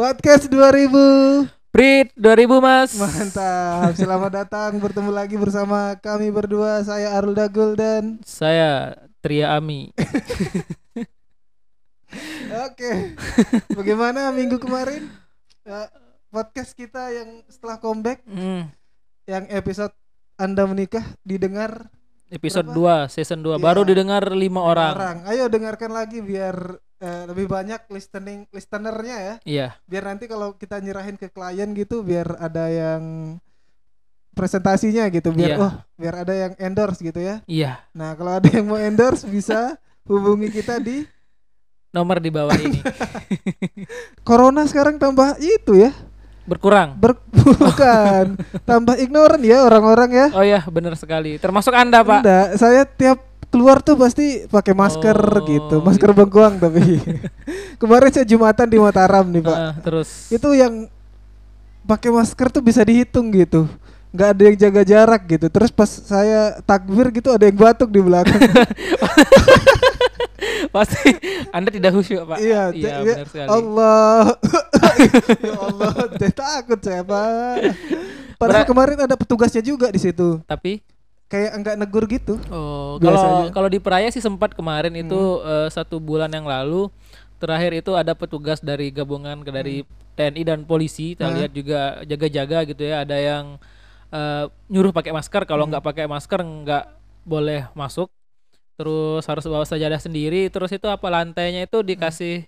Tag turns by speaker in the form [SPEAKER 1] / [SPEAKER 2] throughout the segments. [SPEAKER 1] Podcast 2000
[SPEAKER 2] Prit 2000 mas
[SPEAKER 1] Mantap Selamat datang bertemu lagi bersama kami berdua Saya Arul Dagul dan
[SPEAKER 2] Saya Tria Ami
[SPEAKER 1] Oke Bagaimana minggu kemarin Eh, Podcast kita yang setelah comeback Yang episode Anda Menikah Didengar
[SPEAKER 2] Episode
[SPEAKER 1] Berapa?
[SPEAKER 2] 2 season 2
[SPEAKER 1] Iya.
[SPEAKER 2] Baru didengar 5 orang
[SPEAKER 1] Ayo dengarkan lagi biar eh, Lebih banyak listening listenernya ya
[SPEAKER 2] Iya
[SPEAKER 1] Biar nanti kalau kita nyerahin ke klien gitu Biar ada yang presentasinya gitu biar
[SPEAKER 2] Iya.
[SPEAKER 1] oh biar ada yang endorse gitu ya
[SPEAKER 2] Iya
[SPEAKER 1] Nah, kalau ada yang mau endorse bisa hubungi kita di
[SPEAKER 2] Nomor di bawah ini
[SPEAKER 1] Corona sekarang tambah itu ya.
[SPEAKER 2] Berkurang
[SPEAKER 1] Ber- bukan tambah ignoran ya orang-orang ya.
[SPEAKER 2] Oh ya bener sekali Termasuk anda pak
[SPEAKER 1] Enggak, saya tiap keluar tuh pasti pakai masker
[SPEAKER 2] Oh,
[SPEAKER 1] gitu, masker bengkoang tapi. Kemarin saya Jumatan di Mataram nih, Pak.
[SPEAKER 2] Eh, Terus
[SPEAKER 1] Itu yang pakai masker tuh bisa dihitung gitu. nggak ada yang jaga jarak gitu. Terus pas saya takbir gitu ada yang batuk di belakang.
[SPEAKER 2] Pasti anda tidak khusyuk pak
[SPEAKER 1] Iya, Oh.
[SPEAKER 2] Iya
[SPEAKER 1] te-
[SPEAKER 2] benar sekali
[SPEAKER 1] Allah. ya Allah, saya takut saya, Pak. Padahal
[SPEAKER 2] Berat-
[SPEAKER 1] kemarin ada petugasnya juga di situ.
[SPEAKER 2] Tapi
[SPEAKER 1] Kayak enggak negur gitu.
[SPEAKER 2] Oh,
[SPEAKER 1] Biasa
[SPEAKER 2] kalau
[SPEAKER 1] aja.
[SPEAKER 2] kalau di Peraya sih sempat kemarin itu eh, satu bulan yang lalu terakhir itu ada petugas dari gabungan ke dari TNI dan polisi. Kita lihat juga jaga-jaga gitu ya. Ada yang eh, nyuruh pakai masker. Kalau nggak pakai masker nggak boleh masuk. Terus harus bawa sajadah sendiri. Terus itu apa lantainya itu dikasih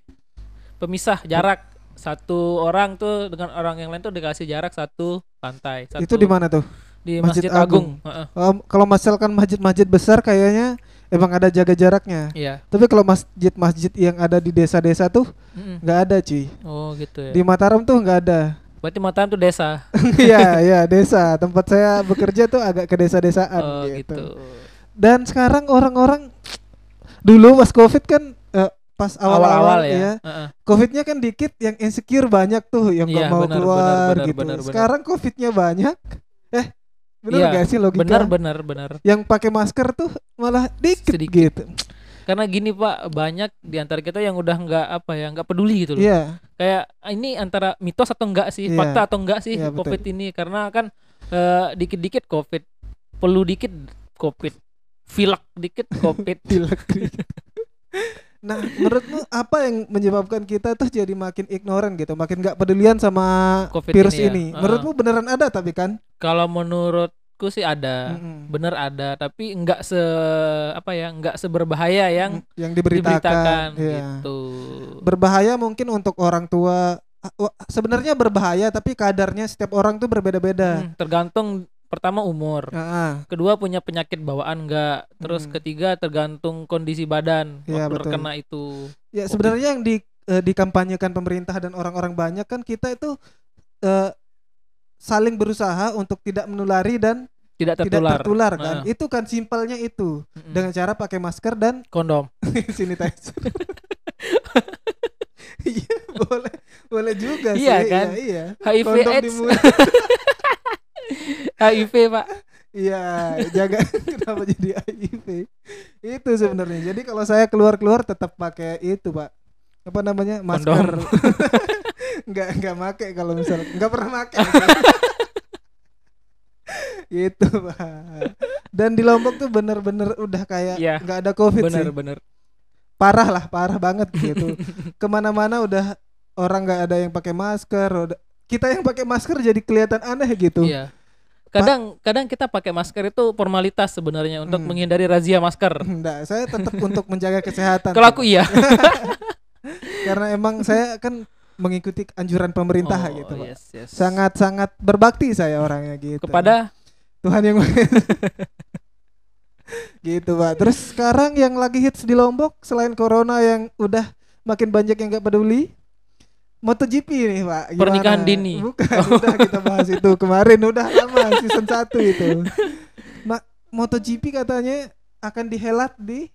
[SPEAKER 2] pemisah jarak satu orang tuh dengan orang yang lain tuh dikasih jarak satu lantai. Satu
[SPEAKER 1] Itu di mana tuh?
[SPEAKER 2] di
[SPEAKER 1] Masjid
[SPEAKER 2] Masjid, Agung. Heeh,
[SPEAKER 1] Em, kalau misalkan masjid-masjid besar kayaknya emang ada jaga jaraknya.
[SPEAKER 2] Iya.
[SPEAKER 1] Tapi kalau masjid-masjid yang ada di desa-desa tuh
[SPEAKER 2] Mm-mm.
[SPEAKER 1] nggak ada, cuy.
[SPEAKER 2] Hmm. Oh gitu ya.
[SPEAKER 1] Di Mataram tuh nggak ada.
[SPEAKER 2] Berarti Mataram tuh desa.
[SPEAKER 1] Iya, iya, desa. Tempat saya bekerja tuh agak ke desa-desaan
[SPEAKER 2] Oh
[SPEAKER 1] gitu.
[SPEAKER 2] gitu.
[SPEAKER 1] dan sekarang orang-orang dulu pas covid kan eh, pas
[SPEAKER 2] Awal-awal
[SPEAKER 1] awal-awal
[SPEAKER 2] ya.
[SPEAKER 1] ya,
[SPEAKER 2] Heeh.
[SPEAKER 1] covidnya kan dikit yang insecure banyak tuh yang nggak
[SPEAKER 2] Iya,
[SPEAKER 1] mau
[SPEAKER 2] benar,
[SPEAKER 1] keluar
[SPEAKER 2] benar, benar,
[SPEAKER 1] gitu
[SPEAKER 2] benar, benar.
[SPEAKER 1] sekarang covidnya banyak eh benar
[SPEAKER 2] Iya,
[SPEAKER 1] nggak sih logika
[SPEAKER 2] Benar benar benar.
[SPEAKER 1] yang pakai masker tuh malah dikit,
[SPEAKER 2] Sedikit.
[SPEAKER 1] gitu
[SPEAKER 2] Karena gini Pak, banyak di antara kita yang udah nggak apa ya, nggak peduli gitu loh.
[SPEAKER 1] iya
[SPEAKER 2] Kayak "Ah, ini antara mitos atau enggak sih,
[SPEAKER 1] Iya.
[SPEAKER 2] fakta atau enggak sih
[SPEAKER 1] Iya, betul.
[SPEAKER 2] Covid ini karena kan eh, dikit-dikit Covid, perlu dikit Covid, filak dikit Covid.
[SPEAKER 1] pilek nah menurutmu apa yang menyebabkan kita tuh jadi makin ignoran gitu makin nggak pedulian sama
[SPEAKER 2] Covid
[SPEAKER 1] virus
[SPEAKER 2] ini ya,
[SPEAKER 1] ini,
[SPEAKER 2] heeh.
[SPEAKER 1] menurutmu beneran ada tapi kan
[SPEAKER 2] Kalau menurutku sih ada.
[SPEAKER 1] Mm-mm.
[SPEAKER 2] Bener ada, tapi enggak se apa ya, enggak seberbahaya yang
[SPEAKER 1] yang
[SPEAKER 2] diberitakan
[SPEAKER 1] diberitakan, iya.
[SPEAKER 2] gitu.
[SPEAKER 1] berbahaya mungkin untuk orang tua Ah, wa- sebenarnya berbahaya tapi kadarnya setiap orang tuh berbeda-beda
[SPEAKER 2] Hmm, tergantung pertama umur.
[SPEAKER 1] Heeh.
[SPEAKER 2] kedua punya penyakit bawaan enggak terus
[SPEAKER 1] Mm.
[SPEAKER 2] ketiga tergantung kondisi badan
[SPEAKER 1] Iya,
[SPEAKER 2] waktu
[SPEAKER 1] betul.
[SPEAKER 2] terkena itu
[SPEAKER 1] ya
[SPEAKER 2] Covid.
[SPEAKER 1] sebenarnya yang di eh, dikampanyekan pemerintah dan orang-orang banyak kan kita itu eh, saling berusaha untuk tidak menulari dan
[SPEAKER 2] tidak
[SPEAKER 1] tidak
[SPEAKER 2] tertular,
[SPEAKER 1] tertular kan
[SPEAKER 2] Heeh. Hmm.
[SPEAKER 1] itu kan simpelnya itu
[SPEAKER 2] Mm-mm.
[SPEAKER 1] dengan cara pakai masker dan
[SPEAKER 2] kondom
[SPEAKER 1] sanitizer iya boleh boleh juga
[SPEAKER 2] Iya,
[SPEAKER 1] sih
[SPEAKER 2] kan?
[SPEAKER 1] iya, iya.
[SPEAKER 2] HIV
[SPEAKER 1] Kondom di
[SPEAKER 2] AIDS
[SPEAKER 1] mulut.
[SPEAKER 2] HIV pak
[SPEAKER 1] Iya, jaga kenapa jadi HIV? Itu sebenarnya. Jadi kalau saya keluar-keluar tetap pakai itu, Pak. Apa namanya? Masker.
[SPEAKER 2] Kondom.
[SPEAKER 1] Enggak enggak make kalau misalnya enggak pernah make. gitu, Pak. Dan di Lombok tuh bener-bener udah kayak
[SPEAKER 2] Iya.
[SPEAKER 1] nggak ada Covid
[SPEAKER 2] bener
[SPEAKER 1] sih.
[SPEAKER 2] bener
[SPEAKER 1] Parah lah, parah banget gitu. Kemana-mana udah orang nggak ada yang pakai masker. udah- Kita yang pakai masker jadi kelihatan aneh gitu.
[SPEAKER 2] iya kadang kadang kita pakai masker itu formalitas sebenarnya untuk
[SPEAKER 1] Mm.
[SPEAKER 2] menghindari razia masker
[SPEAKER 1] Enggak, saya tetap untuk menjaga kesehatan.
[SPEAKER 2] kalau aku iya
[SPEAKER 1] karena emang saya kan mengikuti anjuran pemerintah
[SPEAKER 2] Oh,
[SPEAKER 1] gitu Pak.
[SPEAKER 2] yes, yes.
[SPEAKER 1] sangat-sangat berbakti saya orangnya gitu
[SPEAKER 2] kepada
[SPEAKER 1] Tuhan yang Maha Esa. gitu pak terus sekarang yang lagi hits di Lombok selain corona yang udah makin banyak yang nggak peduli MotoGP nih pak Gimana?
[SPEAKER 2] Pernikahan dini. Oh.
[SPEAKER 1] bukan udah kita bahas itu kemarin udah lama season 1 itu Ma- MotoGP katanya akan dihelat di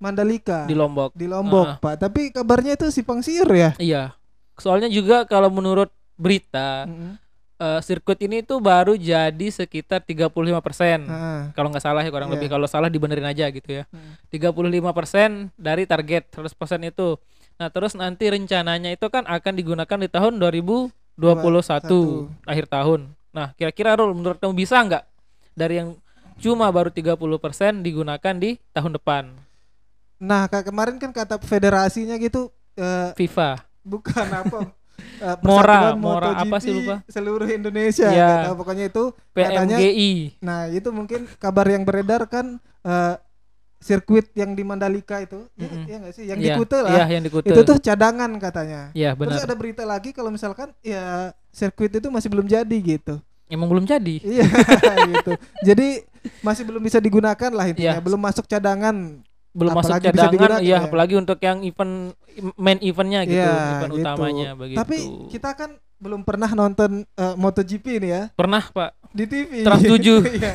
[SPEAKER 1] Mandalika
[SPEAKER 2] di Ah. Lombok
[SPEAKER 1] di Lombok pak tapi kabarnya itu si Pangsir ya
[SPEAKER 2] iya soalnya juga kalau menurut berita
[SPEAKER 1] Mm-mm.
[SPEAKER 2] eh, sirkuit ini tuh baru jadi sekitar 35 persen
[SPEAKER 1] Ah,
[SPEAKER 2] kalau nggak salah ya kurang
[SPEAKER 1] Iya.
[SPEAKER 2] Mm-hmm. lebih kalau salah dibenerin aja gitu ya
[SPEAKER 1] Hmm.
[SPEAKER 2] 35% dari target 100% itu Nah, terus nanti rencananya itu kan akan digunakan di tahun 2021
[SPEAKER 1] Satu.
[SPEAKER 2] akhir tahun. Nah, kira-kira Rul menurut kamu bisa nggak dari yang cuma baru 30% digunakan di tahun depan
[SPEAKER 1] Nah, kayak kemarin kan kata federasinya gitu eh,
[SPEAKER 2] FIFA?
[SPEAKER 1] bukan apa eh,
[SPEAKER 2] Mora,
[SPEAKER 1] Persatuan
[SPEAKER 2] Mora apa
[SPEAKER 1] MotoGP
[SPEAKER 2] sih lupa?
[SPEAKER 1] Seluruh Indonesia
[SPEAKER 2] Ya.
[SPEAKER 1] nggak tahu, pokoknya itu katanya
[SPEAKER 2] PMGI.
[SPEAKER 1] Nah, itu mungkin kabar yang beredar kan eh, sirkuit yang di Mandalika itu. Iya
[SPEAKER 2] Mm-mm.
[SPEAKER 1] iya nggak sih? Yang
[SPEAKER 2] Iya,
[SPEAKER 1] di Kute lah.
[SPEAKER 2] Iya, yang di Kute.
[SPEAKER 1] Itu tuh cadangan katanya.
[SPEAKER 2] Iya,
[SPEAKER 1] Terus
[SPEAKER 2] benar.
[SPEAKER 1] ada berita lagi kalau misalkan ya sirkuit itu masih belum jadi gitu.
[SPEAKER 2] Emang belum jadi.
[SPEAKER 1] Iya gitu. Jadi masih belum bisa digunakan lah intinya,
[SPEAKER 2] Iya.
[SPEAKER 1] belum masuk cadangan.
[SPEAKER 2] belum masuk
[SPEAKER 1] Apalagi bisa
[SPEAKER 2] cadangan
[SPEAKER 1] digunakan
[SPEAKER 2] ya,
[SPEAKER 1] ya.
[SPEAKER 2] apalagi untuk yang event main eventnya gitu
[SPEAKER 1] Iya,
[SPEAKER 2] event
[SPEAKER 1] gitu.
[SPEAKER 2] utamanya begitu
[SPEAKER 1] Tapi kita kan belum pernah nonton eh, MotoGP ini ya
[SPEAKER 2] pernah pak
[SPEAKER 1] di TV.
[SPEAKER 2] Trans tujuh.
[SPEAKER 1] Iya.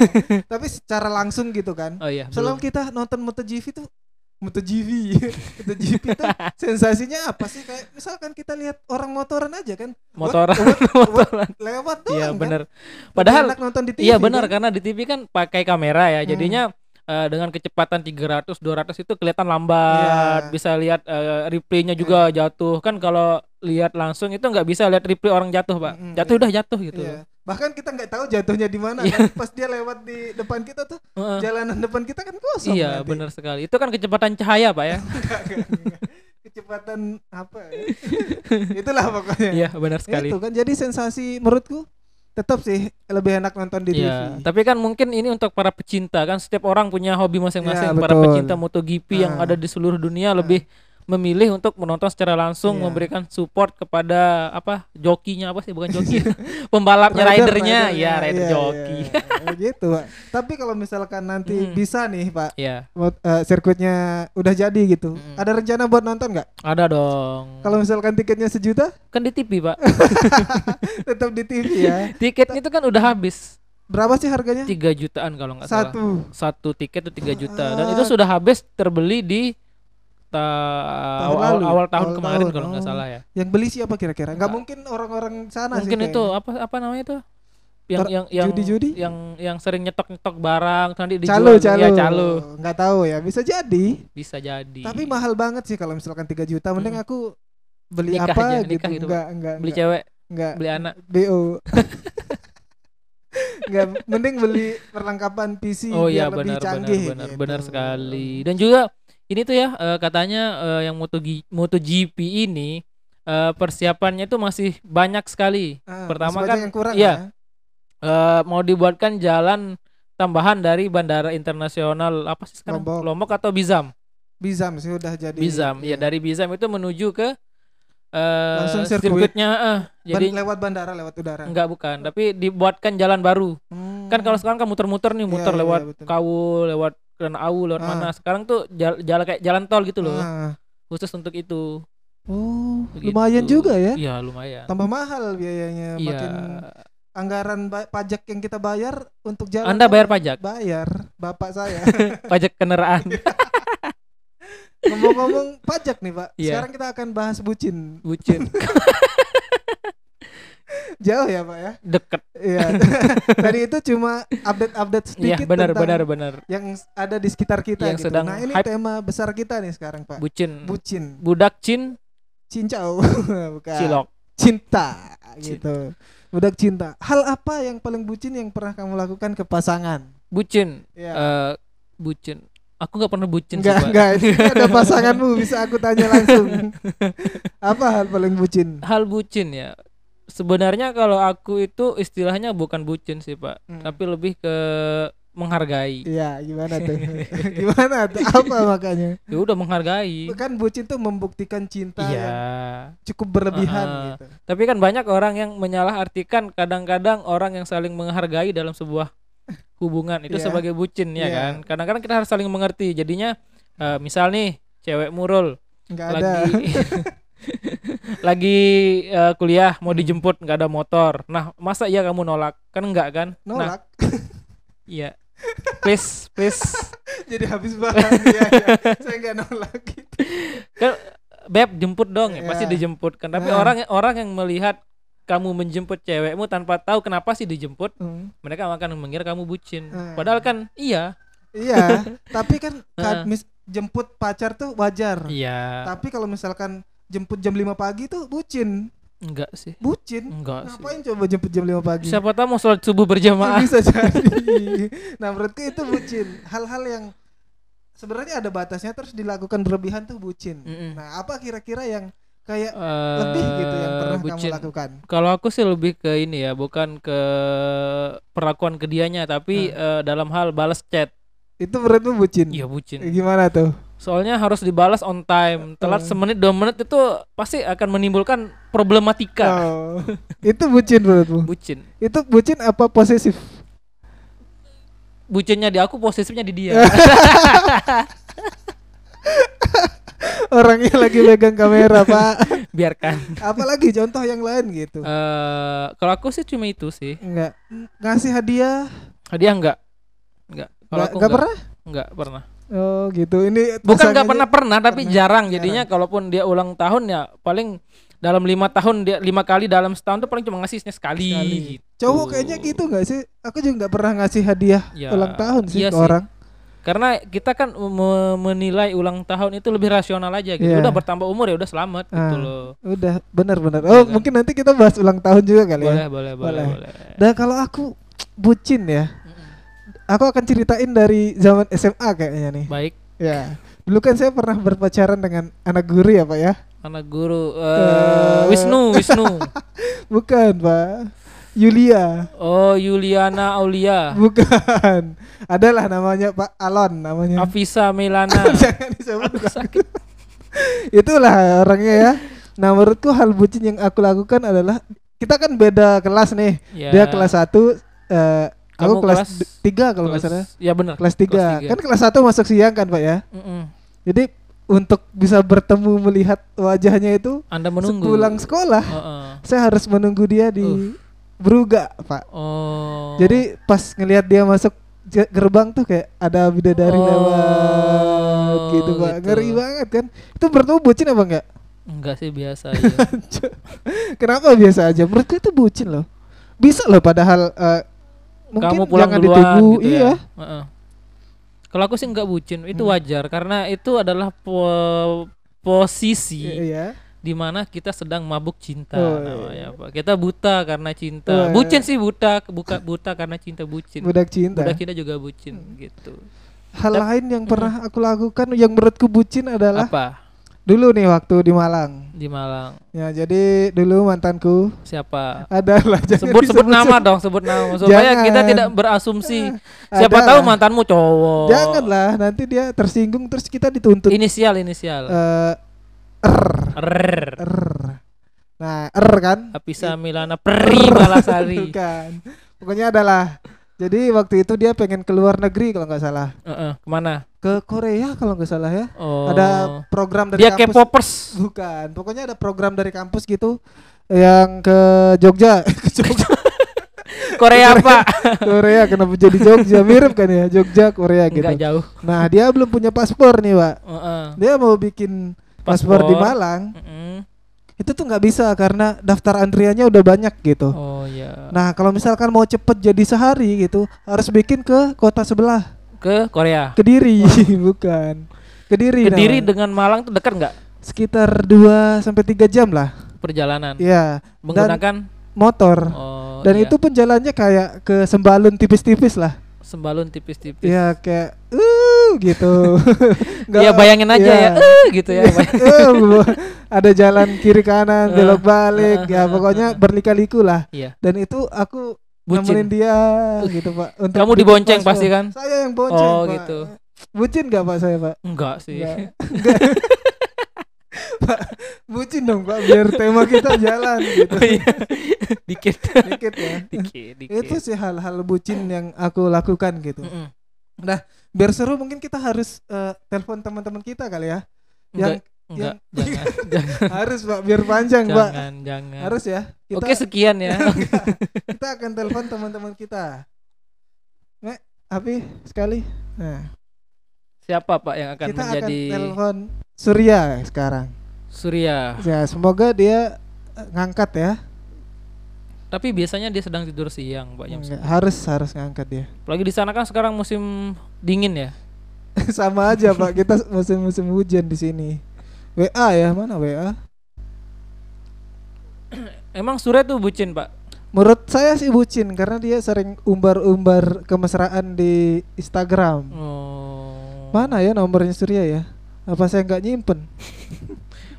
[SPEAKER 1] Tapi secara langsung gitu kan.
[SPEAKER 2] oh iya belum.
[SPEAKER 1] Selama kita nonton MotoGP tuh MotoGP, MotoGP tuh sensasinya apa sih? Kayak misalkan kita lihat orang motoran aja kan,
[SPEAKER 2] motoran
[SPEAKER 1] what-
[SPEAKER 2] motoran
[SPEAKER 1] lewat doang
[SPEAKER 2] iya
[SPEAKER 1] kan.
[SPEAKER 2] benar
[SPEAKER 1] Lebih
[SPEAKER 2] padahal
[SPEAKER 1] enak nonton di TV.
[SPEAKER 2] iya
[SPEAKER 1] kan.
[SPEAKER 2] benar
[SPEAKER 1] Hmm.
[SPEAKER 2] karena di TV kan pakai kamera ya jadinya eh, dengan kecepatan 300 200 itu kelihatan lambat
[SPEAKER 1] Iya.
[SPEAKER 2] bisa lihat eh, replaynya juga jatuh kan kalau lihat langsung itu nggak bisa lihat replay orang jatuh pak
[SPEAKER 1] Mm-mm,
[SPEAKER 2] jatuh
[SPEAKER 1] iya.
[SPEAKER 2] udah jatuh gitu
[SPEAKER 1] Iya. Bahkan kita nggak tahu jatuhnya di mana
[SPEAKER 2] Iya.
[SPEAKER 1] kan. Pas dia lewat di depan kita tuh,
[SPEAKER 2] Heeh.
[SPEAKER 1] jalanan depan kita kan kosong.
[SPEAKER 2] iya
[SPEAKER 1] nanti.
[SPEAKER 2] benar sekali itu kan kecepatan cahaya pak ya
[SPEAKER 1] Nggak, nggak, nggak. Kecepatan apa? ya? Itulah pokoknya.
[SPEAKER 2] iya benar sekali
[SPEAKER 1] Itu kan jadi sensasi menurutku tetap sih lebih enak nonton di
[SPEAKER 2] Iya,
[SPEAKER 1] TV.
[SPEAKER 2] tapi kan mungkin ini untuk para pecinta kan setiap orang punya hobi masing-masing.
[SPEAKER 1] Iya,
[SPEAKER 2] para
[SPEAKER 1] betul.
[SPEAKER 2] pecinta MotoGP yang
[SPEAKER 1] Ah.
[SPEAKER 2] ada di seluruh dunia lebih memilih untuk menonton secara langsung,
[SPEAKER 1] Iya.
[SPEAKER 2] memberikan support kepada apa jokinya apa sih bukan joki, pembalapnya,
[SPEAKER 1] Rider,
[SPEAKER 2] ridernya,
[SPEAKER 1] ridernya,
[SPEAKER 2] ya rider
[SPEAKER 1] iya,
[SPEAKER 2] joki.
[SPEAKER 1] iya. Oh, gitu, Pak. Tapi kalau misalkan nanti
[SPEAKER 2] Mm.
[SPEAKER 1] bisa nih, Pak,
[SPEAKER 2] Iya,
[SPEAKER 1] mot- eh, sirkuitnya udah jadi gitu.
[SPEAKER 2] Mm.
[SPEAKER 1] Ada rencana buat nonton nggak?
[SPEAKER 2] ada dong.
[SPEAKER 1] Kalau misalkan tiketnya sejuta,
[SPEAKER 2] Kan di TV pak,
[SPEAKER 1] tetap di TV ya.
[SPEAKER 2] tiket itu kan udah habis
[SPEAKER 1] Berapa sih harganya?
[SPEAKER 2] 3 jutaan kalau nggak salah.
[SPEAKER 1] Satu.
[SPEAKER 2] Satu tiket itu 3 juta
[SPEAKER 1] Ah.
[SPEAKER 2] dan itu sudah habis terbeli di ta-
[SPEAKER 1] Tahun
[SPEAKER 2] awal,
[SPEAKER 1] lalu.
[SPEAKER 2] awal tahun
[SPEAKER 1] Awal
[SPEAKER 2] kemarin
[SPEAKER 1] tahun,
[SPEAKER 2] kalau nggak
[SPEAKER 1] oh.
[SPEAKER 2] salah ya.
[SPEAKER 1] Yang beli siapa kira-kira? Nggak
[SPEAKER 2] Nggak.
[SPEAKER 1] mungkin orang-orang sana
[SPEAKER 2] mungkin
[SPEAKER 1] sih.
[SPEAKER 2] itu apa apa namanya itu yang
[SPEAKER 1] Ter-
[SPEAKER 2] yang yang
[SPEAKER 1] judi-judi?
[SPEAKER 2] yang yang sering nyetok nyetok barang nanti
[SPEAKER 1] Calo,
[SPEAKER 2] dijual
[SPEAKER 1] calo.
[SPEAKER 2] ya calo Iya.
[SPEAKER 1] Nggak tahu ya. Bisa jadi.
[SPEAKER 2] bisa jadi
[SPEAKER 1] Tapi mahal banget sih kalau misalkan 3 juta. Mending
[SPEAKER 2] Mm.
[SPEAKER 1] aku beli apa
[SPEAKER 2] Nikah aja,
[SPEAKER 1] gitu.
[SPEAKER 2] nikah gitu,
[SPEAKER 1] Nggak, nggak,
[SPEAKER 2] beli
[SPEAKER 1] nggak,
[SPEAKER 2] cewek
[SPEAKER 1] nggak.
[SPEAKER 2] beli anak
[SPEAKER 1] BO. Enggak, mending beli perlengkapan PC
[SPEAKER 2] oh iya
[SPEAKER 1] biar lebih
[SPEAKER 2] benar benar
[SPEAKER 1] canggih.
[SPEAKER 2] benar
[SPEAKER 1] gitu.
[SPEAKER 2] benar sekali dan juga ini tuh ya eh, katanya eh, yang Moto G- MotoGP ini eh, persiapannya itu masih banyak sekali
[SPEAKER 1] Ah, masih
[SPEAKER 2] Pertama kan,
[SPEAKER 1] banyak yang kurang
[SPEAKER 2] iya.
[SPEAKER 1] ya.
[SPEAKER 2] Eh, mau dibuatkan jalan tambahan dari bandara internasional apa sih sekarang
[SPEAKER 1] Lombok.
[SPEAKER 2] atau Bizam
[SPEAKER 1] Bizam sih udah jadi.
[SPEAKER 2] Bizam ya dari Bizam itu menuju ke eh,
[SPEAKER 1] iya. Langsung sirkuit.
[SPEAKER 2] sirkuitnya eh, jadi
[SPEAKER 1] jadi lewat bandara lewat udara.
[SPEAKER 2] Enggak bukan, tapi dibuatkan jalan baru.
[SPEAKER 1] Hmm.
[SPEAKER 2] Kan kalau sekarang kan muter-muter nih,
[SPEAKER 1] Iya,
[SPEAKER 2] muter
[SPEAKER 1] iya,
[SPEAKER 2] lewat
[SPEAKER 1] betul.
[SPEAKER 2] Kawu, lewat Au, lewat
[SPEAKER 1] Ah.
[SPEAKER 2] mana. Sekarang tuh jal- jalan kayak jalan tol gitu loh,
[SPEAKER 1] Ah.
[SPEAKER 2] khusus untuk itu.
[SPEAKER 1] Oh,
[SPEAKER 2] Begitu.
[SPEAKER 1] lumayan juga ya.
[SPEAKER 2] Iya, lumayan.
[SPEAKER 1] Tambah mahal biayanya
[SPEAKER 2] Iya.
[SPEAKER 1] makin anggaran ba- pajak yang kita bayar untuk jalan.
[SPEAKER 2] Anda
[SPEAKER 1] kan
[SPEAKER 2] bayar pajak,
[SPEAKER 1] Bayar, bapak saya.
[SPEAKER 2] pajak kendaraan.
[SPEAKER 1] Ngomong-ngomong pajak nih, Pak.
[SPEAKER 2] Iya.
[SPEAKER 1] Sekarang kita akan bahas bucin.
[SPEAKER 2] Bucin.
[SPEAKER 1] Jauh ya, Pak ya.
[SPEAKER 2] Deket.
[SPEAKER 1] Iya. Tadi itu cuma update-update
[SPEAKER 2] Iya,
[SPEAKER 1] sedikit
[SPEAKER 2] benar
[SPEAKER 1] tentang
[SPEAKER 2] benar benar.
[SPEAKER 1] yang s- ada di sekitar kita gitu.
[SPEAKER 2] Yang sedang
[SPEAKER 1] nah, ini
[SPEAKER 2] hype.
[SPEAKER 1] tema besar kita nih sekarang, Pak.
[SPEAKER 2] Bucin.
[SPEAKER 1] Bucin,
[SPEAKER 2] Budak Cin,
[SPEAKER 1] cincau, bukan.
[SPEAKER 2] cilok.
[SPEAKER 1] Cinta
[SPEAKER 2] Cin-
[SPEAKER 1] gitu. Budak cinta. Hal apa yang paling bucin yang pernah kamu lakukan ke pasangan?
[SPEAKER 2] Bucin.
[SPEAKER 1] Ya.
[SPEAKER 2] Eh, bucin. Aku nggak pernah bucin
[SPEAKER 1] enggak,
[SPEAKER 2] Pak.
[SPEAKER 1] enggak. Ini ada pasanganmu bisa aku tanya langsung. apa hal paling bucin?
[SPEAKER 2] hal bucin ya sebenarnya kalau aku itu istilahnya bukan bucin sih pak
[SPEAKER 1] Hmm.
[SPEAKER 2] tapi lebih ke menghargai
[SPEAKER 1] Iya, gimana tuh? gimana tuh? Apa makanya?
[SPEAKER 2] ya udah menghargai
[SPEAKER 1] Kan bucin tuh membuktikan cinta
[SPEAKER 2] iya
[SPEAKER 1] yang cukup berlebihan
[SPEAKER 2] Uh-uh.
[SPEAKER 1] gitu.
[SPEAKER 2] tapi kan banyak orang yang menyalahartikan kadang-kadang orang yang saling menghargai dalam sebuah hubungan itu
[SPEAKER 1] Iya.
[SPEAKER 2] sebagai bucin ya
[SPEAKER 1] Iya.
[SPEAKER 2] kan kadang-kadang kita harus saling mengerti jadinya eh, misal nih cewek murul
[SPEAKER 1] Enggak ada.
[SPEAKER 2] lagi lagi eh, kuliah
[SPEAKER 1] Hmm.
[SPEAKER 2] mau dijemput nggak ada motor nah masa iya kamu nolak kan enggak kan nah
[SPEAKER 1] Nolak.
[SPEAKER 2] Iya. Please, please.
[SPEAKER 1] jadi habis bahan ya, ya. saya nggak nolak gitu
[SPEAKER 2] Kan beb jemput dong ya, pasti
[SPEAKER 1] Iya.
[SPEAKER 2] dijemput kan. Tapi
[SPEAKER 1] Nah.
[SPEAKER 2] orang orang yang melihat kamu menjemput cewekmu tanpa tahu kenapa sih dijemput, mereka akan mengira kamu bucin.
[SPEAKER 1] Nah.
[SPEAKER 2] Padahal kan iya.
[SPEAKER 1] iya tapi kan kad-
[SPEAKER 2] Ah.
[SPEAKER 1] mis- jemput pacar tuh wajar
[SPEAKER 2] Iya.
[SPEAKER 1] tapi kalau misalkan jemput jam 5 pagi tuh bucin
[SPEAKER 2] Enggak sih.
[SPEAKER 1] bucin
[SPEAKER 2] Enggak sih.
[SPEAKER 1] ngapain coba jemput jam 5 pagi
[SPEAKER 2] Hmm. Siapa tahu mau sholat subuh berjamaah.
[SPEAKER 1] bisa jadi nah menurutku itu bucin hal-hal yang sebenarnya ada batasnya terus dilakukan berlebihan tuh bucin
[SPEAKER 2] Mm-mm.
[SPEAKER 1] nah apa kira-kira yang kayak
[SPEAKER 2] Eh,
[SPEAKER 1] lebih gitu yang pernah
[SPEAKER 2] bucin.
[SPEAKER 1] kamu lakukan
[SPEAKER 2] Kalau aku sih lebih ke ini ya, bukan ke perlakuan ke dianya tapi
[SPEAKER 1] Hmm.
[SPEAKER 2] eh, dalam hal balas chat.
[SPEAKER 1] itu menurutmu bucin
[SPEAKER 2] Iya bucin.
[SPEAKER 1] gimana tuh
[SPEAKER 2] Soalnya harus dibalas on time. Telat semenit dua menit itu pasti akan menimbulkan problematika.
[SPEAKER 1] Oh. itu bucin menurutmu
[SPEAKER 2] Bucin.
[SPEAKER 1] itu bucin apa posesif
[SPEAKER 2] Bucinnya di aku, posesifnya di dia.
[SPEAKER 1] orangnya lagi megang kamera pak
[SPEAKER 2] Biarkan.
[SPEAKER 1] apalagi contoh yang lain gitu
[SPEAKER 2] Eh, kalau aku sih cuma itu sih.
[SPEAKER 1] enggak ngasih hadiah
[SPEAKER 2] Dia enggak. Enggak.
[SPEAKER 1] enggak,
[SPEAKER 2] Kalau
[SPEAKER 1] enggak
[SPEAKER 2] aku enggak,
[SPEAKER 1] pernah
[SPEAKER 2] enggak pernah.
[SPEAKER 1] oh gitu ini
[SPEAKER 2] Bukan
[SPEAKER 1] pasangannya-
[SPEAKER 2] enggak pernah pernah tapi jarang jadinya kalaupun dia ulang tahun ya paling dalam lima tahun dia lima kali dalam setahun tuh paling cuma ngasihnya sekali.
[SPEAKER 1] Sekali.
[SPEAKER 2] gitu.
[SPEAKER 1] cowok kayaknya gitu nggak sih aku juga nggak pernah ngasih hadiah
[SPEAKER 2] Ya,
[SPEAKER 1] ulang tahun sih
[SPEAKER 2] iya
[SPEAKER 1] ke
[SPEAKER 2] sih.
[SPEAKER 1] orang
[SPEAKER 2] Karena kita kan me- menilai ulang tahun itu lebih rasional aja gitu.
[SPEAKER 1] Iya.
[SPEAKER 2] Udah bertambah umur ya udah selamat gitu
[SPEAKER 1] Ah.
[SPEAKER 2] loh.
[SPEAKER 1] udah benar-benar oh
[SPEAKER 2] Iya.
[SPEAKER 1] mungkin nanti kita bahas ulang tahun juga kali
[SPEAKER 2] Boleh,
[SPEAKER 1] ya
[SPEAKER 2] boleh, boleh, boleh.
[SPEAKER 1] dan kalau aku bucin ya aku akan ceritain dari zaman SMA kayaknya nih
[SPEAKER 2] Baik,
[SPEAKER 1] ya dulu kan saya pernah berpacaran dengan anak guru ya pak ya
[SPEAKER 2] anak guru eh,
[SPEAKER 1] Eh.
[SPEAKER 2] Wisnu, Wisnu.
[SPEAKER 1] bukan pak Yulia
[SPEAKER 2] Oh, Yuliana Aulia,
[SPEAKER 1] Bukan. Adalah namanya Pak Alon namanya.
[SPEAKER 2] Afisa Milana.
[SPEAKER 1] Jangan disebut. Itulah orangnya ya. Nah, menurutku hal bucin yang aku lakukan adalah kita kan beda kelas nih.
[SPEAKER 2] Ya.
[SPEAKER 1] Dia kelas 1 eh aku
[SPEAKER 2] Kamu
[SPEAKER 1] kelas
[SPEAKER 2] kelas-
[SPEAKER 1] 3 kalau nggak
[SPEAKER 2] Kelas-
[SPEAKER 1] salah.
[SPEAKER 2] Ya benar.
[SPEAKER 1] Kelas
[SPEAKER 2] Kelas
[SPEAKER 1] 3.
[SPEAKER 2] tiga.
[SPEAKER 1] Kan kelas 1 masuk siang kan, Pak ya.
[SPEAKER 2] Mm-mm.
[SPEAKER 1] Jadi untuk bisa bertemu melihat wajahnya itu
[SPEAKER 2] Anda menunggu.
[SPEAKER 1] pulang sekolah,
[SPEAKER 2] Heeh.
[SPEAKER 1] saya harus menunggu dia di
[SPEAKER 2] Uff.
[SPEAKER 1] Bruga, Pak.
[SPEAKER 2] Oh.
[SPEAKER 1] Jadi pas ngelihat dia masuk je- gerbang tuh kayak ada bidadari
[SPEAKER 2] Oh,
[SPEAKER 1] lewat gitu pak
[SPEAKER 2] gitu.
[SPEAKER 1] ngeri banget kan itu bertemu bucin apa enggak
[SPEAKER 2] enggak sih biasa ya.
[SPEAKER 1] kenapa biasa aja menurutku itu bucin loh bisa loh padahal eh, mungkin
[SPEAKER 2] Kamu pulang
[SPEAKER 1] jangan
[SPEAKER 2] duluan
[SPEAKER 1] ditunggu
[SPEAKER 2] gitu ya.
[SPEAKER 1] iya
[SPEAKER 2] Heeh. Kalau aku sih enggak bucin, itu wajar karena itu adalah po- posisi
[SPEAKER 1] iya iya.
[SPEAKER 2] di mana kita sedang mabuk cinta
[SPEAKER 1] Oh, iya. Oh,
[SPEAKER 2] namanya apa? Kita buta karena cinta.
[SPEAKER 1] Wah.
[SPEAKER 2] Bucin sih buta, buka buta karena cinta bucin.
[SPEAKER 1] budak cinta
[SPEAKER 2] Budak kita juga bucin
[SPEAKER 1] Hmm.
[SPEAKER 2] gitu.
[SPEAKER 1] hal lain yang pernah aku lakukan yang menurutku bucin adalah
[SPEAKER 2] Apa?
[SPEAKER 1] dulu nih waktu di Malang
[SPEAKER 2] Di Malang.
[SPEAKER 1] ya jadi dulu mantanku
[SPEAKER 2] Siapa?
[SPEAKER 1] adalah jangan
[SPEAKER 2] Sebut sebut
[SPEAKER 1] disebut-sebut.
[SPEAKER 2] Ya. nama dong, sebut nama. Supaya
[SPEAKER 1] Jangan.
[SPEAKER 2] kita tidak berasumsi.
[SPEAKER 1] Eh,
[SPEAKER 2] Siapa
[SPEAKER 1] ada
[SPEAKER 2] tahu
[SPEAKER 1] lah.
[SPEAKER 2] mantanmu cowok.
[SPEAKER 1] janganlah nanti dia tersinggung terus kita dituntut
[SPEAKER 2] Inisial inisial.
[SPEAKER 1] eh
[SPEAKER 2] Rrrr.
[SPEAKER 1] R. Nah, R kan?
[SPEAKER 2] Apisa Milana Peri Balasari.
[SPEAKER 1] Bukan. Pokoknya adalah jadi waktu itu dia pengen keluar negeri kalau nggak salah.
[SPEAKER 2] Heeh, kemana?
[SPEAKER 1] Ke Korea kalau nggak salah ya.
[SPEAKER 2] Oh.
[SPEAKER 1] Ada program dari
[SPEAKER 2] dia
[SPEAKER 1] kampus.
[SPEAKER 2] K-popers.
[SPEAKER 1] Bukan. Pokoknya ada program dari kampus gitu yang ke Jogja. ke Jogja.
[SPEAKER 2] Korea apa?
[SPEAKER 1] Korea kenapa jadi Jogja? Mirip kan ya Jogja Korea gitu.
[SPEAKER 2] Enggak jauh.
[SPEAKER 1] Nah, dia belum punya paspor nih, Pak.
[SPEAKER 2] Heeh.
[SPEAKER 1] Dia mau bikin paspor, di
[SPEAKER 2] Paspor.
[SPEAKER 1] Malang.
[SPEAKER 2] Mm-mm.
[SPEAKER 1] Itu tuh nggak bisa karena daftar antriannya udah banyak gitu.
[SPEAKER 2] Oh ya.
[SPEAKER 1] Nah, kalau misalkan mau cepet jadi sehari gitu, harus bikin ke kota sebelah,
[SPEAKER 2] Ke Korea.
[SPEAKER 1] Kediri, bukan. Kediri.
[SPEAKER 2] Ah. Kediri
[SPEAKER 1] namanya.
[SPEAKER 2] dengan Malang tuh dekat nggak
[SPEAKER 1] sekitar 2 sampai 3 jam lah.
[SPEAKER 2] perjalanan?
[SPEAKER 1] Iya. Dan
[SPEAKER 2] Menggunakan
[SPEAKER 1] motor.
[SPEAKER 2] oh,
[SPEAKER 1] Dan
[SPEAKER 2] iya.
[SPEAKER 1] itu pun jalannya kayak ke Sembalun tipis-tipis lah.
[SPEAKER 2] sembalun tipis-tipis.
[SPEAKER 1] Iya, kayak uh gitu. Nggak-
[SPEAKER 2] Iya bayangin aja
[SPEAKER 1] iya.
[SPEAKER 2] ya, eh, gitu ya. Uh,
[SPEAKER 1] Eh, ada jalan kiri kanan belok balik ya pokoknya berlika-liku lah
[SPEAKER 2] Iya.
[SPEAKER 1] dan itu aku nemenin
[SPEAKER 2] Bucin.
[SPEAKER 1] dia gitu pak untuk
[SPEAKER 2] Kamu
[SPEAKER 1] bikin
[SPEAKER 2] dibonceng
[SPEAKER 1] paspor.
[SPEAKER 2] pasti kan?
[SPEAKER 1] saya yang bonceng
[SPEAKER 2] Oh
[SPEAKER 1] Pak.
[SPEAKER 2] gitu. Iya.
[SPEAKER 1] bucin gak pak saya pak
[SPEAKER 2] Enggak sih.
[SPEAKER 1] Nggak. Pak, bucin dong pak biar tema kita jalan gitu
[SPEAKER 2] Oh, iya. dikit.
[SPEAKER 1] dikit ya
[SPEAKER 2] dikit, dikit.
[SPEAKER 1] itu sih hal-hal bucin yang aku lakukan gitu
[SPEAKER 2] Mm-mm.
[SPEAKER 1] biar seru mungkin kita harus eh, telepon teman-teman kita kali ya yang
[SPEAKER 2] Enggak, enggak,
[SPEAKER 1] yang-
[SPEAKER 2] jangan, jangan,
[SPEAKER 1] harus pak biar panjang pak
[SPEAKER 2] jangan, jangan.
[SPEAKER 1] harus ya kita
[SPEAKER 2] Oke, sekian ya.
[SPEAKER 1] kita akan telepon teman-teman kita Mek, Api sekali nah
[SPEAKER 2] Siapa Pak yang akan
[SPEAKER 1] kita
[SPEAKER 2] menjadi
[SPEAKER 1] akan telepon Surya sekarang
[SPEAKER 2] Surya?
[SPEAKER 1] ya semoga dia eh, ngangkat ya
[SPEAKER 2] Tapi biasanya dia sedang tidur siang, Pak. Jam
[SPEAKER 1] Enggak, harus harus ngangkat dia
[SPEAKER 2] Apalagi di sana kan sekarang musim dingin ya.
[SPEAKER 1] sama aja pak kita musim-musim hujan di sini WA ya mana WA
[SPEAKER 2] Emang Surya tuh bucin pak?
[SPEAKER 1] Menurut saya sih bucin karena dia sering umbar-umbar kemesraan di Instagram.
[SPEAKER 2] Oh.
[SPEAKER 1] Mana ya nomornya Surya ya? Apa saya nggak nyimpen?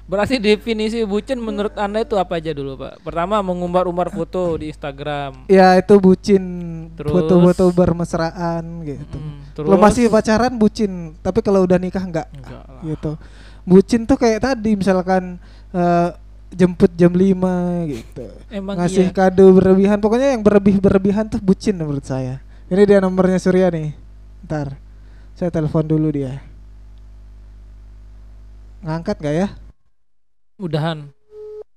[SPEAKER 2] Berarti definisi bucin menurut anda itu apa aja dulu pak? Pertama mengumbar-umbar foto di Instagram.
[SPEAKER 1] ya itu bucin
[SPEAKER 2] Terus?
[SPEAKER 1] foto-foto bermesraan gitu.
[SPEAKER 2] Mm,
[SPEAKER 1] Kalau masih pacaran bucin, tapi kalau udah nikah nggak
[SPEAKER 2] Enggak lah.
[SPEAKER 1] gitu. Bucin tuh kayak tadi misalkan eh, jemput jam 5 gitu.
[SPEAKER 2] Emang
[SPEAKER 1] Ngasih
[SPEAKER 2] iya.
[SPEAKER 1] kado berlebihan, pokoknya yang berlebih-berlebihan tuh bucin menurut saya. Ini dia nomornya Surya nih. Ntar saya telepon dulu dia. Ngangkat gak ya?
[SPEAKER 2] Udahan.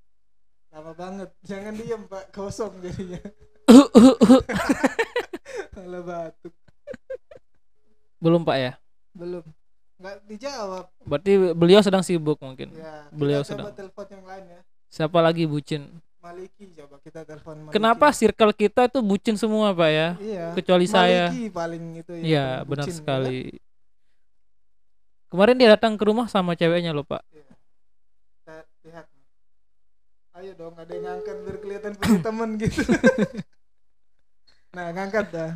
[SPEAKER 1] Lama banget. Jangan diem pak, kosong jadinya. Malah batuk.
[SPEAKER 2] Belum pak ya?
[SPEAKER 1] Belum. Nggak dijawab.
[SPEAKER 2] Berarti beliau sedang sibuk mungkin.
[SPEAKER 1] Ya.
[SPEAKER 2] Beliau
[SPEAKER 1] kita
[SPEAKER 2] sedang.
[SPEAKER 1] Coba telepon yang lain ya.
[SPEAKER 2] Siapa lagi bucin?
[SPEAKER 1] Maliki coba kita telepon Maliki.
[SPEAKER 2] Kenapa circle kita itu bucin semua pak ya?
[SPEAKER 1] Iya.
[SPEAKER 2] Kecuali saya.
[SPEAKER 1] Maliki paling itu ya.
[SPEAKER 2] Iya benar
[SPEAKER 1] bucin, kan?
[SPEAKER 2] sekali. Kemarin dia datang ke rumah sama ceweknya loh pak.
[SPEAKER 1] Kita lihat. Ayo dong, ada yang ngangkat biar kelihatan punya temen gitu. nah, ngangkat dah.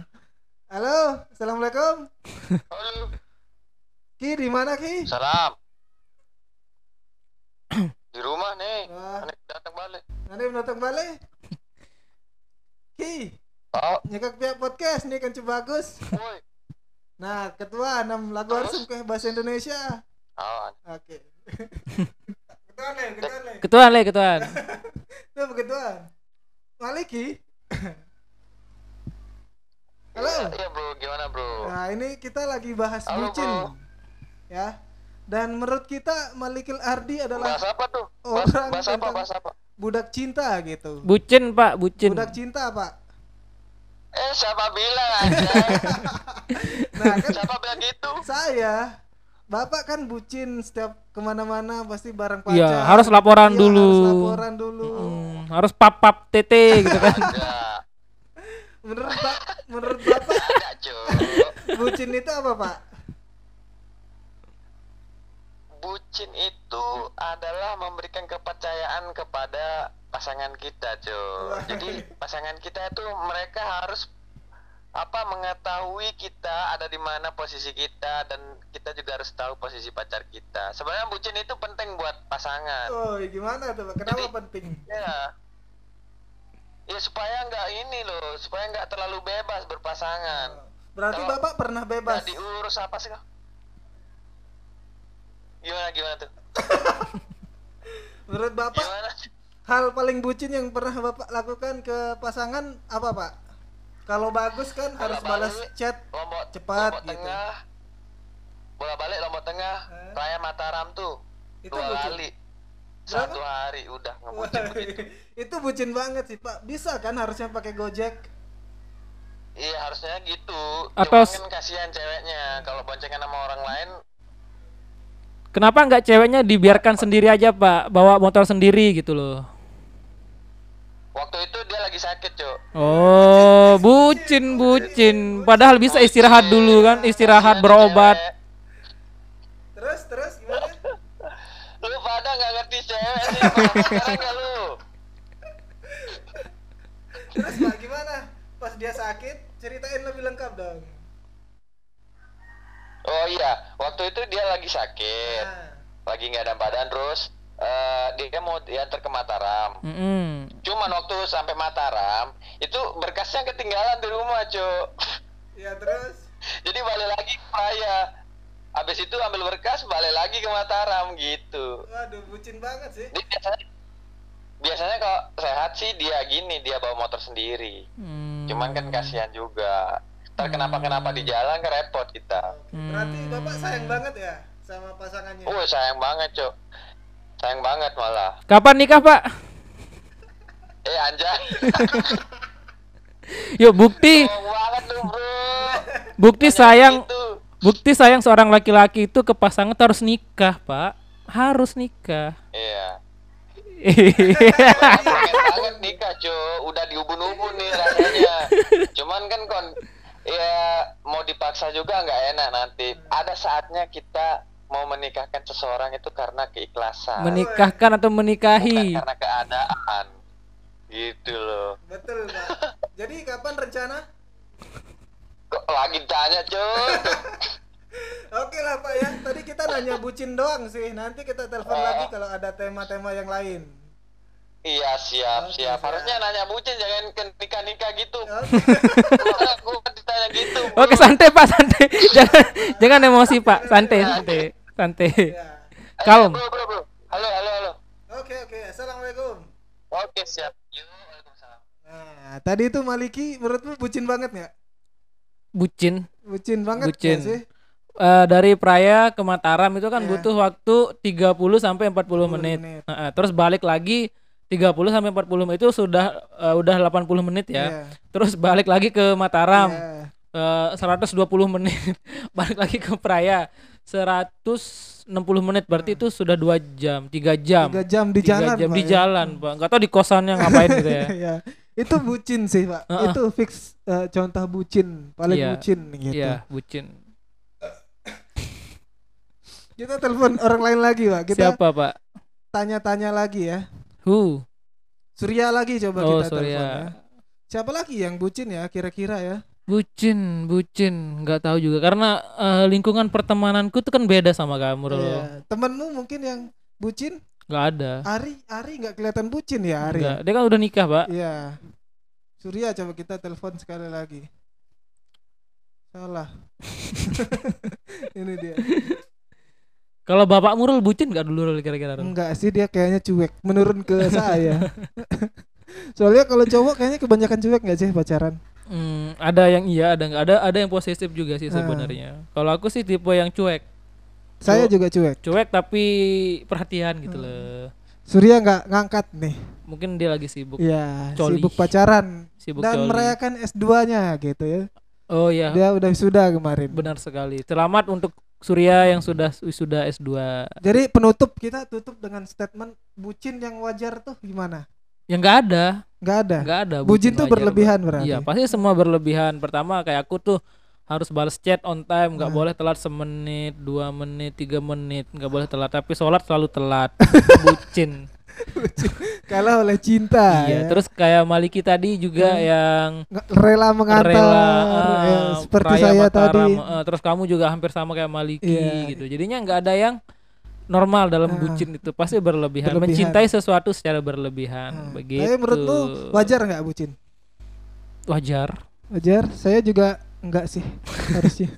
[SPEAKER 1] Halo, assalamualaikum.
[SPEAKER 3] Halo,
[SPEAKER 1] Ki di mana Ki?
[SPEAKER 3] salam. Di rumah nih,
[SPEAKER 1] Wah,
[SPEAKER 3] anak datang balik.
[SPEAKER 1] nanti menonton balik. Ki,
[SPEAKER 3] Oh,
[SPEAKER 1] nyekak pihak podcast nih kan bagus.
[SPEAKER 3] woi.
[SPEAKER 1] Nah, ketua enam lagu harus ke bahasa Indonesia.
[SPEAKER 3] Oh,
[SPEAKER 1] Oke. ketuaan nih, ketuaan nih.
[SPEAKER 2] Ketuaan le ketuaan.
[SPEAKER 1] Tuh ketuaan. Maliki. Halo.
[SPEAKER 3] Iya, Bro. Gimana, Bro?
[SPEAKER 1] Nah, ini kita lagi bahas
[SPEAKER 3] Halo,
[SPEAKER 1] bucin.
[SPEAKER 3] Bro.
[SPEAKER 1] Ya. Dan menurut kita Malikil Ardi adalah
[SPEAKER 3] Bahas apa tuh?
[SPEAKER 1] Orang
[SPEAKER 3] Bahas, bahas apa?
[SPEAKER 1] tentang-
[SPEAKER 3] Bahas apa?
[SPEAKER 1] budak cinta gitu.
[SPEAKER 2] Bucin pak bucin.
[SPEAKER 1] Budak cinta, Pak.
[SPEAKER 3] Eh, siapa bilang? anjay?
[SPEAKER 1] Nah, kan
[SPEAKER 3] siapa bilang gitu?
[SPEAKER 1] saya Bapak kan bucin setiap kemana-mana pasti bareng pacar.
[SPEAKER 2] Iya harus laporan
[SPEAKER 1] Iya,
[SPEAKER 2] dulu.
[SPEAKER 1] Harus laporan dulu.
[SPEAKER 2] Hmm, harus pap pap tete gitu kan.
[SPEAKER 3] Ya,
[SPEAKER 1] Menurut Pak, menurut Bapak
[SPEAKER 3] enggak, cuy.
[SPEAKER 1] bucin itu apa, Pak?
[SPEAKER 3] Bucin itu adalah memberikan kepercayaan kepada pasangan kita, cuy. Jadi, pasangan kita itu mereka harus apa mengetahui kita ada di mana posisi kita dan kita juga harus tahu posisi pacar kita. Sebenarnya bucin itu penting buat pasangan.
[SPEAKER 1] Oh, gimana tuh, Pak? Kenapa
[SPEAKER 3] Jadi-
[SPEAKER 1] penting?
[SPEAKER 3] Ya. Ya supaya nggak ini loh, supaya nggak terlalu bebas berpasangan.
[SPEAKER 1] Berarti
[SPEAKER 3] Kalau-
[SPEAKER 1] Bapak pernah bebas.
[SPEAKER 3] Nggak diurus apa sih kok? Gimana gimana tuh?
[SPEAKER 1] Menurut Bapak
[SPEAKER 3] Gimana?
[SPEAKER 1] hal paling bucin yang pernah bapak lakukan ke pasangan apa pak? Kalau bagus kan
[SPEAKER 3] Bola
[SPEAKER 1] harus balas
[SPEAKER 3] balik,
[SPEAKER 1] chat.
[SPEAKER 3] Lombok
[SPEAKER 1] cepat
[SPEAKER 3] lombok
[SPEAKER 1] gitu.
[SPEAKER 3] tengah. Bola balik lombok tengah,
[SPEAKER 1] Eh?
[SPEAKER 3] raya Mataram tuh.
[SPEAKER 1] Itu
[SPEAKER 3] dua
[SPEAKER 1] bucin.
[SPEAKER 3] kali. Satu hari udah ngebucin begitu.
[SPEAKER 1] itu bucin banget sih pak. Bisa kan harusnya pakai gojek.
[SPEAKER 3] Iya harusnya gitu.
[SPEAKER 2] Atau
[SPEAKER 3] Cuman kan kasihan ceweknya kalau boncengan sama orang lain
[SPEAKER 2] Kenapa nggak ceweknya dibiarkan sendiri aja pak? Bawa motor sendiri gitu loh.
[SPEAKER 3] waktu itu dia lagi sakit, Cuk.
[SPEAKER 2] Oh bucin bucin. Padahal bisa istirahat dulu kan, istirahat berobat.
[SPEAKER 3] Cewek.
[SPEAKER 1] Terus terus gimana?
[SPEAKER 3] lu pada nggak ngerti cewek sih paham pacaran nggak lu
[SPEAKER 1] terus pak gimana? Pas dia sakit ceritain lebih lengkap dong.
[SPEAKER 3] oh iya waktu itu dia lagi sakit
[SPEAKER 1] Nah,
[SPEAKER 3] lagi nggak ada badan terus eh, dia mau diantar ke Mataram
[SPEAKER 2] Mm-mm.
[SPEAKER 3] cuman waktu sampai Mataram itu berkasnya ketinggalan di rumah cuk
[SPEAKER 1] ya terus.
[SPEAKER 3] jadi balik lagi ke Raya habis itu ambil berkas balik lagi ke Mataram gitu
[SPEAKER 1] Waduh bucin banget sih.
[SPEAKER 3] jadi biasanya biasanya kalau sehat sih dia gini dia bawa motor sendiri
[SPEAKER 2] Hmm.
[SPEAKER 3] cuman kan kasihan juga ntar kenapa kenapa di jalan kan repot kita
[SPEAKER 1] Berarti bapak sayang banget ya sama pasangannya.
[SPEAKER 3] oh sayang banget cok sayang banget malah
[SPEAKER 2] Kapan nikah pak?
[SPEAKER 3] eh anjay
[SPEAKER 2] Yuk bukti
[SPEAKER 3] sayang banget lu bro Gitu.
[SPEAKER 2] bukti sayang
[SPEAKER 3] itu
[SPEAKER 2] bukti sayang seorang laki-laki itu ke pasangan tuh harus nikah pak. Harus nikah.
[SPEAKER 3] iya pengen banget nikah cok udah diubun-ubun nih rasanya cuman kan kon ya mau dipaksa juga nggak enak nanti ada saatnya kita mau menikahkan seseorang itu karena keikhlasan
[SPEAKER 2] Menikahkan atau
[SPEAKER 3] bukan
[SPEAKER 2] menikahi.
[SPEAKER 3] karena keadaan gitu loh
[SPEAKER 1] Betul, Pak. Jadi kapan rencana?
[SPEAKER 3] kok lagi tanya cuy
[SPEAKER 1] Oke lah, Pak ya. Tadi kita nanya bucin doang sih. Nanti kita telepon
[SPEAKER 2] Oh.
[SPEAKER 1] lagi kalau ada tema-tema yang lain.
[SPEAKER 3] iya siap
[SPEAKER 1] Oke,
[SPEAKER 3] siap
[SPEAKER 1] siap.
[SPEAKER 3] harusnya nanya bucin jangan ke nikah nikah gitu
[SPEAKER 1] Oke.
[SPEAKER 3] aku ditanya gitu
[SPEAKER 2] Oke santai pak santai jangan jangan emosi pak santai santai santai
[SPEAKER 1] Ya.
[SPEAKER 3] Eh,
[SPEAKER 2] Kalem.
[SPEAKER 3] bro, bro, bro. halo halo halo
[SPEAKER 1] Oke, oke. Assalamualaikum.
[SPEAKER 3] oke siap yuk waalaikumsalam
[SPEAKER 1] Nah, tadi itu Maliki menurutmu bucin banget nggak?
[SPEAKER 2] bucin
[SPEAKER 1] Bucin banget nggak
[SPEAKER 2] Bucin.
[SPEAKER 1] sih?
[SPEAKER 2] Eh, dari Praya ke Mataram itu kan
[SPEAKER 1] Iya.
[SPEAKER 2] butuh waktu 30 sampai 40
[SPEAKER 1] menit.
[SPEAKER 2] menit. Heeh, terus balik lagi 30 sampai 40 menit itu sudah eh, udah 80 menit ya.
[SPEAKER 1] Iya.
[SPEAKER 2] Terus balik lagi ke Mataram
[SPEAKER 1] Iya.
[SPEAKER 2] eh, 120 menit. balik lagi ke Praya 160 menit berarti itu sudah dua jam, tiga jam.
[SPEAKER 1] Tiga jam di
[SPEAKER 2] Tiga
[SPEAKER 1] jalan.
[SPEAKER 2] jam
[SPEAKER 1] Pak,
[SPEAKER 2] di
[SPEAKER 1] ya.
[SPEAKER 2] jalan, Pak. Enggak tahu di kosannya ngapain gitu ya.
[SPEAKER 1] Iya. Itu bucin sih, Pak.
[SPEAKER 2] Heeh.
[SPEAKER 1] Itu fix eh, contoh bucin, paling
[SPEAKER 2] Iya.
[SPEAKER 1] bucin gitu.
[SPEAKER 2] Iya, bucin.
[SPEAKER 1] Kita telepon orang lain lagi, Pak. Kita
[SPEAKER 2] Siapa, Pak?
[SPEAKER 1] tanya-tanya lagi ya.
[SPEAKER 2] Hu.
[SPEAKER 1] Surya lagi coba
[SPEAKER 2] Oh,
[SPEAKER 1] kita telepon
[SPEAKER 2] Surya.
[SPEAKER 1] ya. Siapa lagi yang bucin ya kira-kira ya?
[SPEAKER 2] Bucin, bucin, nggak tahu juga karena eh, lingkungan pertemananku tuh kan beda sama kamu, Bro.
[SPEAKER 1] Iya. Temenmu mungkin yang bucin?
[SPEAKER 2] Nggak ada.
[SPEAKER 1] Ari, Ari nggak kelihatan bucin ya Ari?
[SPEAKER 2] Nggak. Dia kan udah nikah, Pak.
[SPEAKER 1] Iya. Surya coba kita telepon sekali lagi. Salah. Ini dia.
[SPEAKER 2] Kalau Bapak Murul bucin nggak dulu Rul, kira-kira? Rul?
[SPEAKER 1] Enggak sih dia kayaknya cuek menurun ke saya. Soalnya kalau cowok kayaknya kebanyakan cuek nggak sih pacaran?
[SPEAKER 2] Hmm, ada yang iya, ada nggak ada, ada yang posesif juga sih
[SPEAKER 1] Ah.
[SPEAKER 2] sebenarnya. Kalau aku sih tipe yang cuek,
[SPEAKER 1] Saya
[SPEAKER 2] Cowok-
[SPEAKER 1] juga Ah. cuek.
[SPEAKER 2] cuek tapi perhatian gitu loh.
[SPEAKER 1] Surya nggak ngangkat nih.
[SPEAKER 2] Mungkin dia lagi sibuk,
[SPEAKER 1] Iya,
[SPEAKER 2] Coli.
[SPEAKER 1] sibuk pacaran
[SPEAKER 2] sibuk
[SPEAKER 1] dan
[SPEAKER 2] coli.
[SPEAKER 1] merayakan S2-nya gitu ya.
[SPEAKER 2] Oh iya,
[SPEAKER 1] Dia udah sudah kemarin.
[SPEAKER 2] benar sekali. Selamat untuk Surya yang sudah sudah S2.
[SPEAKER 1] Jadi penutup kita tutup dengan statement bucin yang wajar tuh gimana?
[SPEAKER 2] Yang Ya nggak ada,
[SPEAKER 1] Nggak ada.
[SPEAKER 2] nggak ada.
[SPEAKER 1] Bucin tuh
[SPEAKER 2] wajar, Pak.
[SPEAKER 1] berlebihan berarti.
[SPEAKER 2] Iya, pasti semua berlebihan. Pertama kayak aku tuh harus balas chat on time, nggak
[SPEAKER 1] Nah.
[SPEAKER 2] boleh telat semenit, dua menit, tiga menit, nggak boleh telat. Tapi sholat selalu telat, bucin.
[SPEAKER 1] Kalah oleh cinta.
[SPEAKER 2] iya,
[SPEAKER 1] ya.
[SPEAKER 2] terus kayak Maliki tadi juga
[SPEAKER 1] Hmm.
[SPEAKER 2] yang
[SPEAKER 1] Nge- rela mengantar
[SPEAKER 2] rela
[SPEAKER 1] ya,
[SPEAKER 2] ah,
[SPEAKER 1] seperti
[SPEAKER 2] Raya
[SPEAKER 1] saya
[SPEAKER 2] Mataram,
[SPEAKER 1] tadi.
[SPEAKER 2] eh, terus kamu juga hampir sama kayak Maliki
[SPEAKER 1] Iya.
[SPEAKER 2] gitu. Jadinya nggak ada yang normal dalam
[SPEAKER 1] Ah.
[SPEAKER 2] bucin itu pasti berlebihan.
[SPEAKER 1] Berlebihan.
[SPEAKER 2] mencintai sesuatu secara berlebihan
[SPEAKER 1] Nah,
[SPEAKER 2] kan, begitu
[SPEAKER 1] Tapi menurutmu wajar nggak bucin?
[SPEAKER 2] wajar
[SPEAKER 1] Wajar. Saya juga enggak sih harusnya.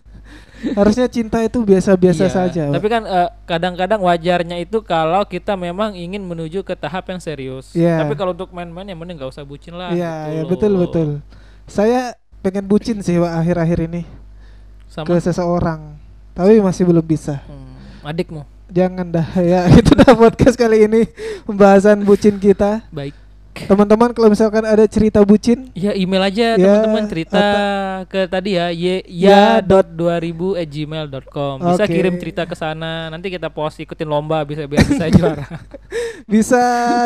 [SPEAKER 1] harusnya cinta itu biasa-biasa
[SPEAKER 2] Iya,
[SPEAKER 1] saja. Pak.
[SPEAKER 2] Tapi kan eh, kadang-kadang wajarnya itu kalau kita memang ingin menuju ke tahap yang serius.
[SPEAKER 1] Iya.
[SPEAKER 2] Tapi kalau untuk main-main yang mending nggak usah bucin lah.
[SPEAKER 1] Iya, ya
[SPEAKER 2] gitu loh.
[SPEAKER 1] betul betul. Saya pengen bucin sih Pak akhir-akhir ini
[SPEAKER 2] Sama
[SPEAKER 1] ke seseorang, tapi masih belum bisa.
[SPEAKER 2] hmm, adikmu
[SPEAKER 1] Jangan dah ya. Itu dah podcast kali ini pembahasan bucin kita.
[SPEAKER 2] baik.
[SPEAKER 1] Teman-teman kalau misalkan ada cerita bucin
[SPEAKER 2] Ya email
[SPEAKER 1] Ya,
[SPEAKER 2] aja teman-teman cerita ke tadi ya ye,
[SPEAKER 1] Ya
[SPEAKER 2] ya dot dua ribu at gmail.com bisa
[SPEAKER 1] Oke.
[SPEAKER 2] kirim cerita ke sana nanti kita post ikutin lomba bisa biar bisa juara
[SPEAKER 1] bisa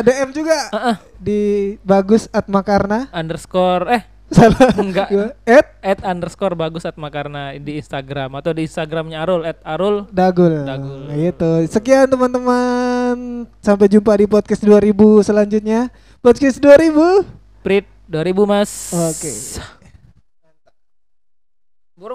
[SPEAKER 1] DM juga
[SPEAKER 2] Heeh.
[SPEAKER 1] di bagus atmakarna
[SPEAKER 2] underscore eh
[SPEAKER 1] salah
[SPEAKER 2] Enggak.
[SPEAKER 1] Gua, at
[SPEAKER 2] at underscore bagus at makarna di Instagram atau di Instagramnya Arul at Arul
[SPEAKER 1] Dagul. Nah,
[SPEAKER 2] Dagul.
[SPEAKER 1] Gitu. Sekian teman-teman. Sampai jumpa di podcast 2000 selanjutnya. Podcast 2000.
[SPEAKER 2] Prit 2000 mas
[SPEAKER 1] Oke.
[SPEAKER 2] Borong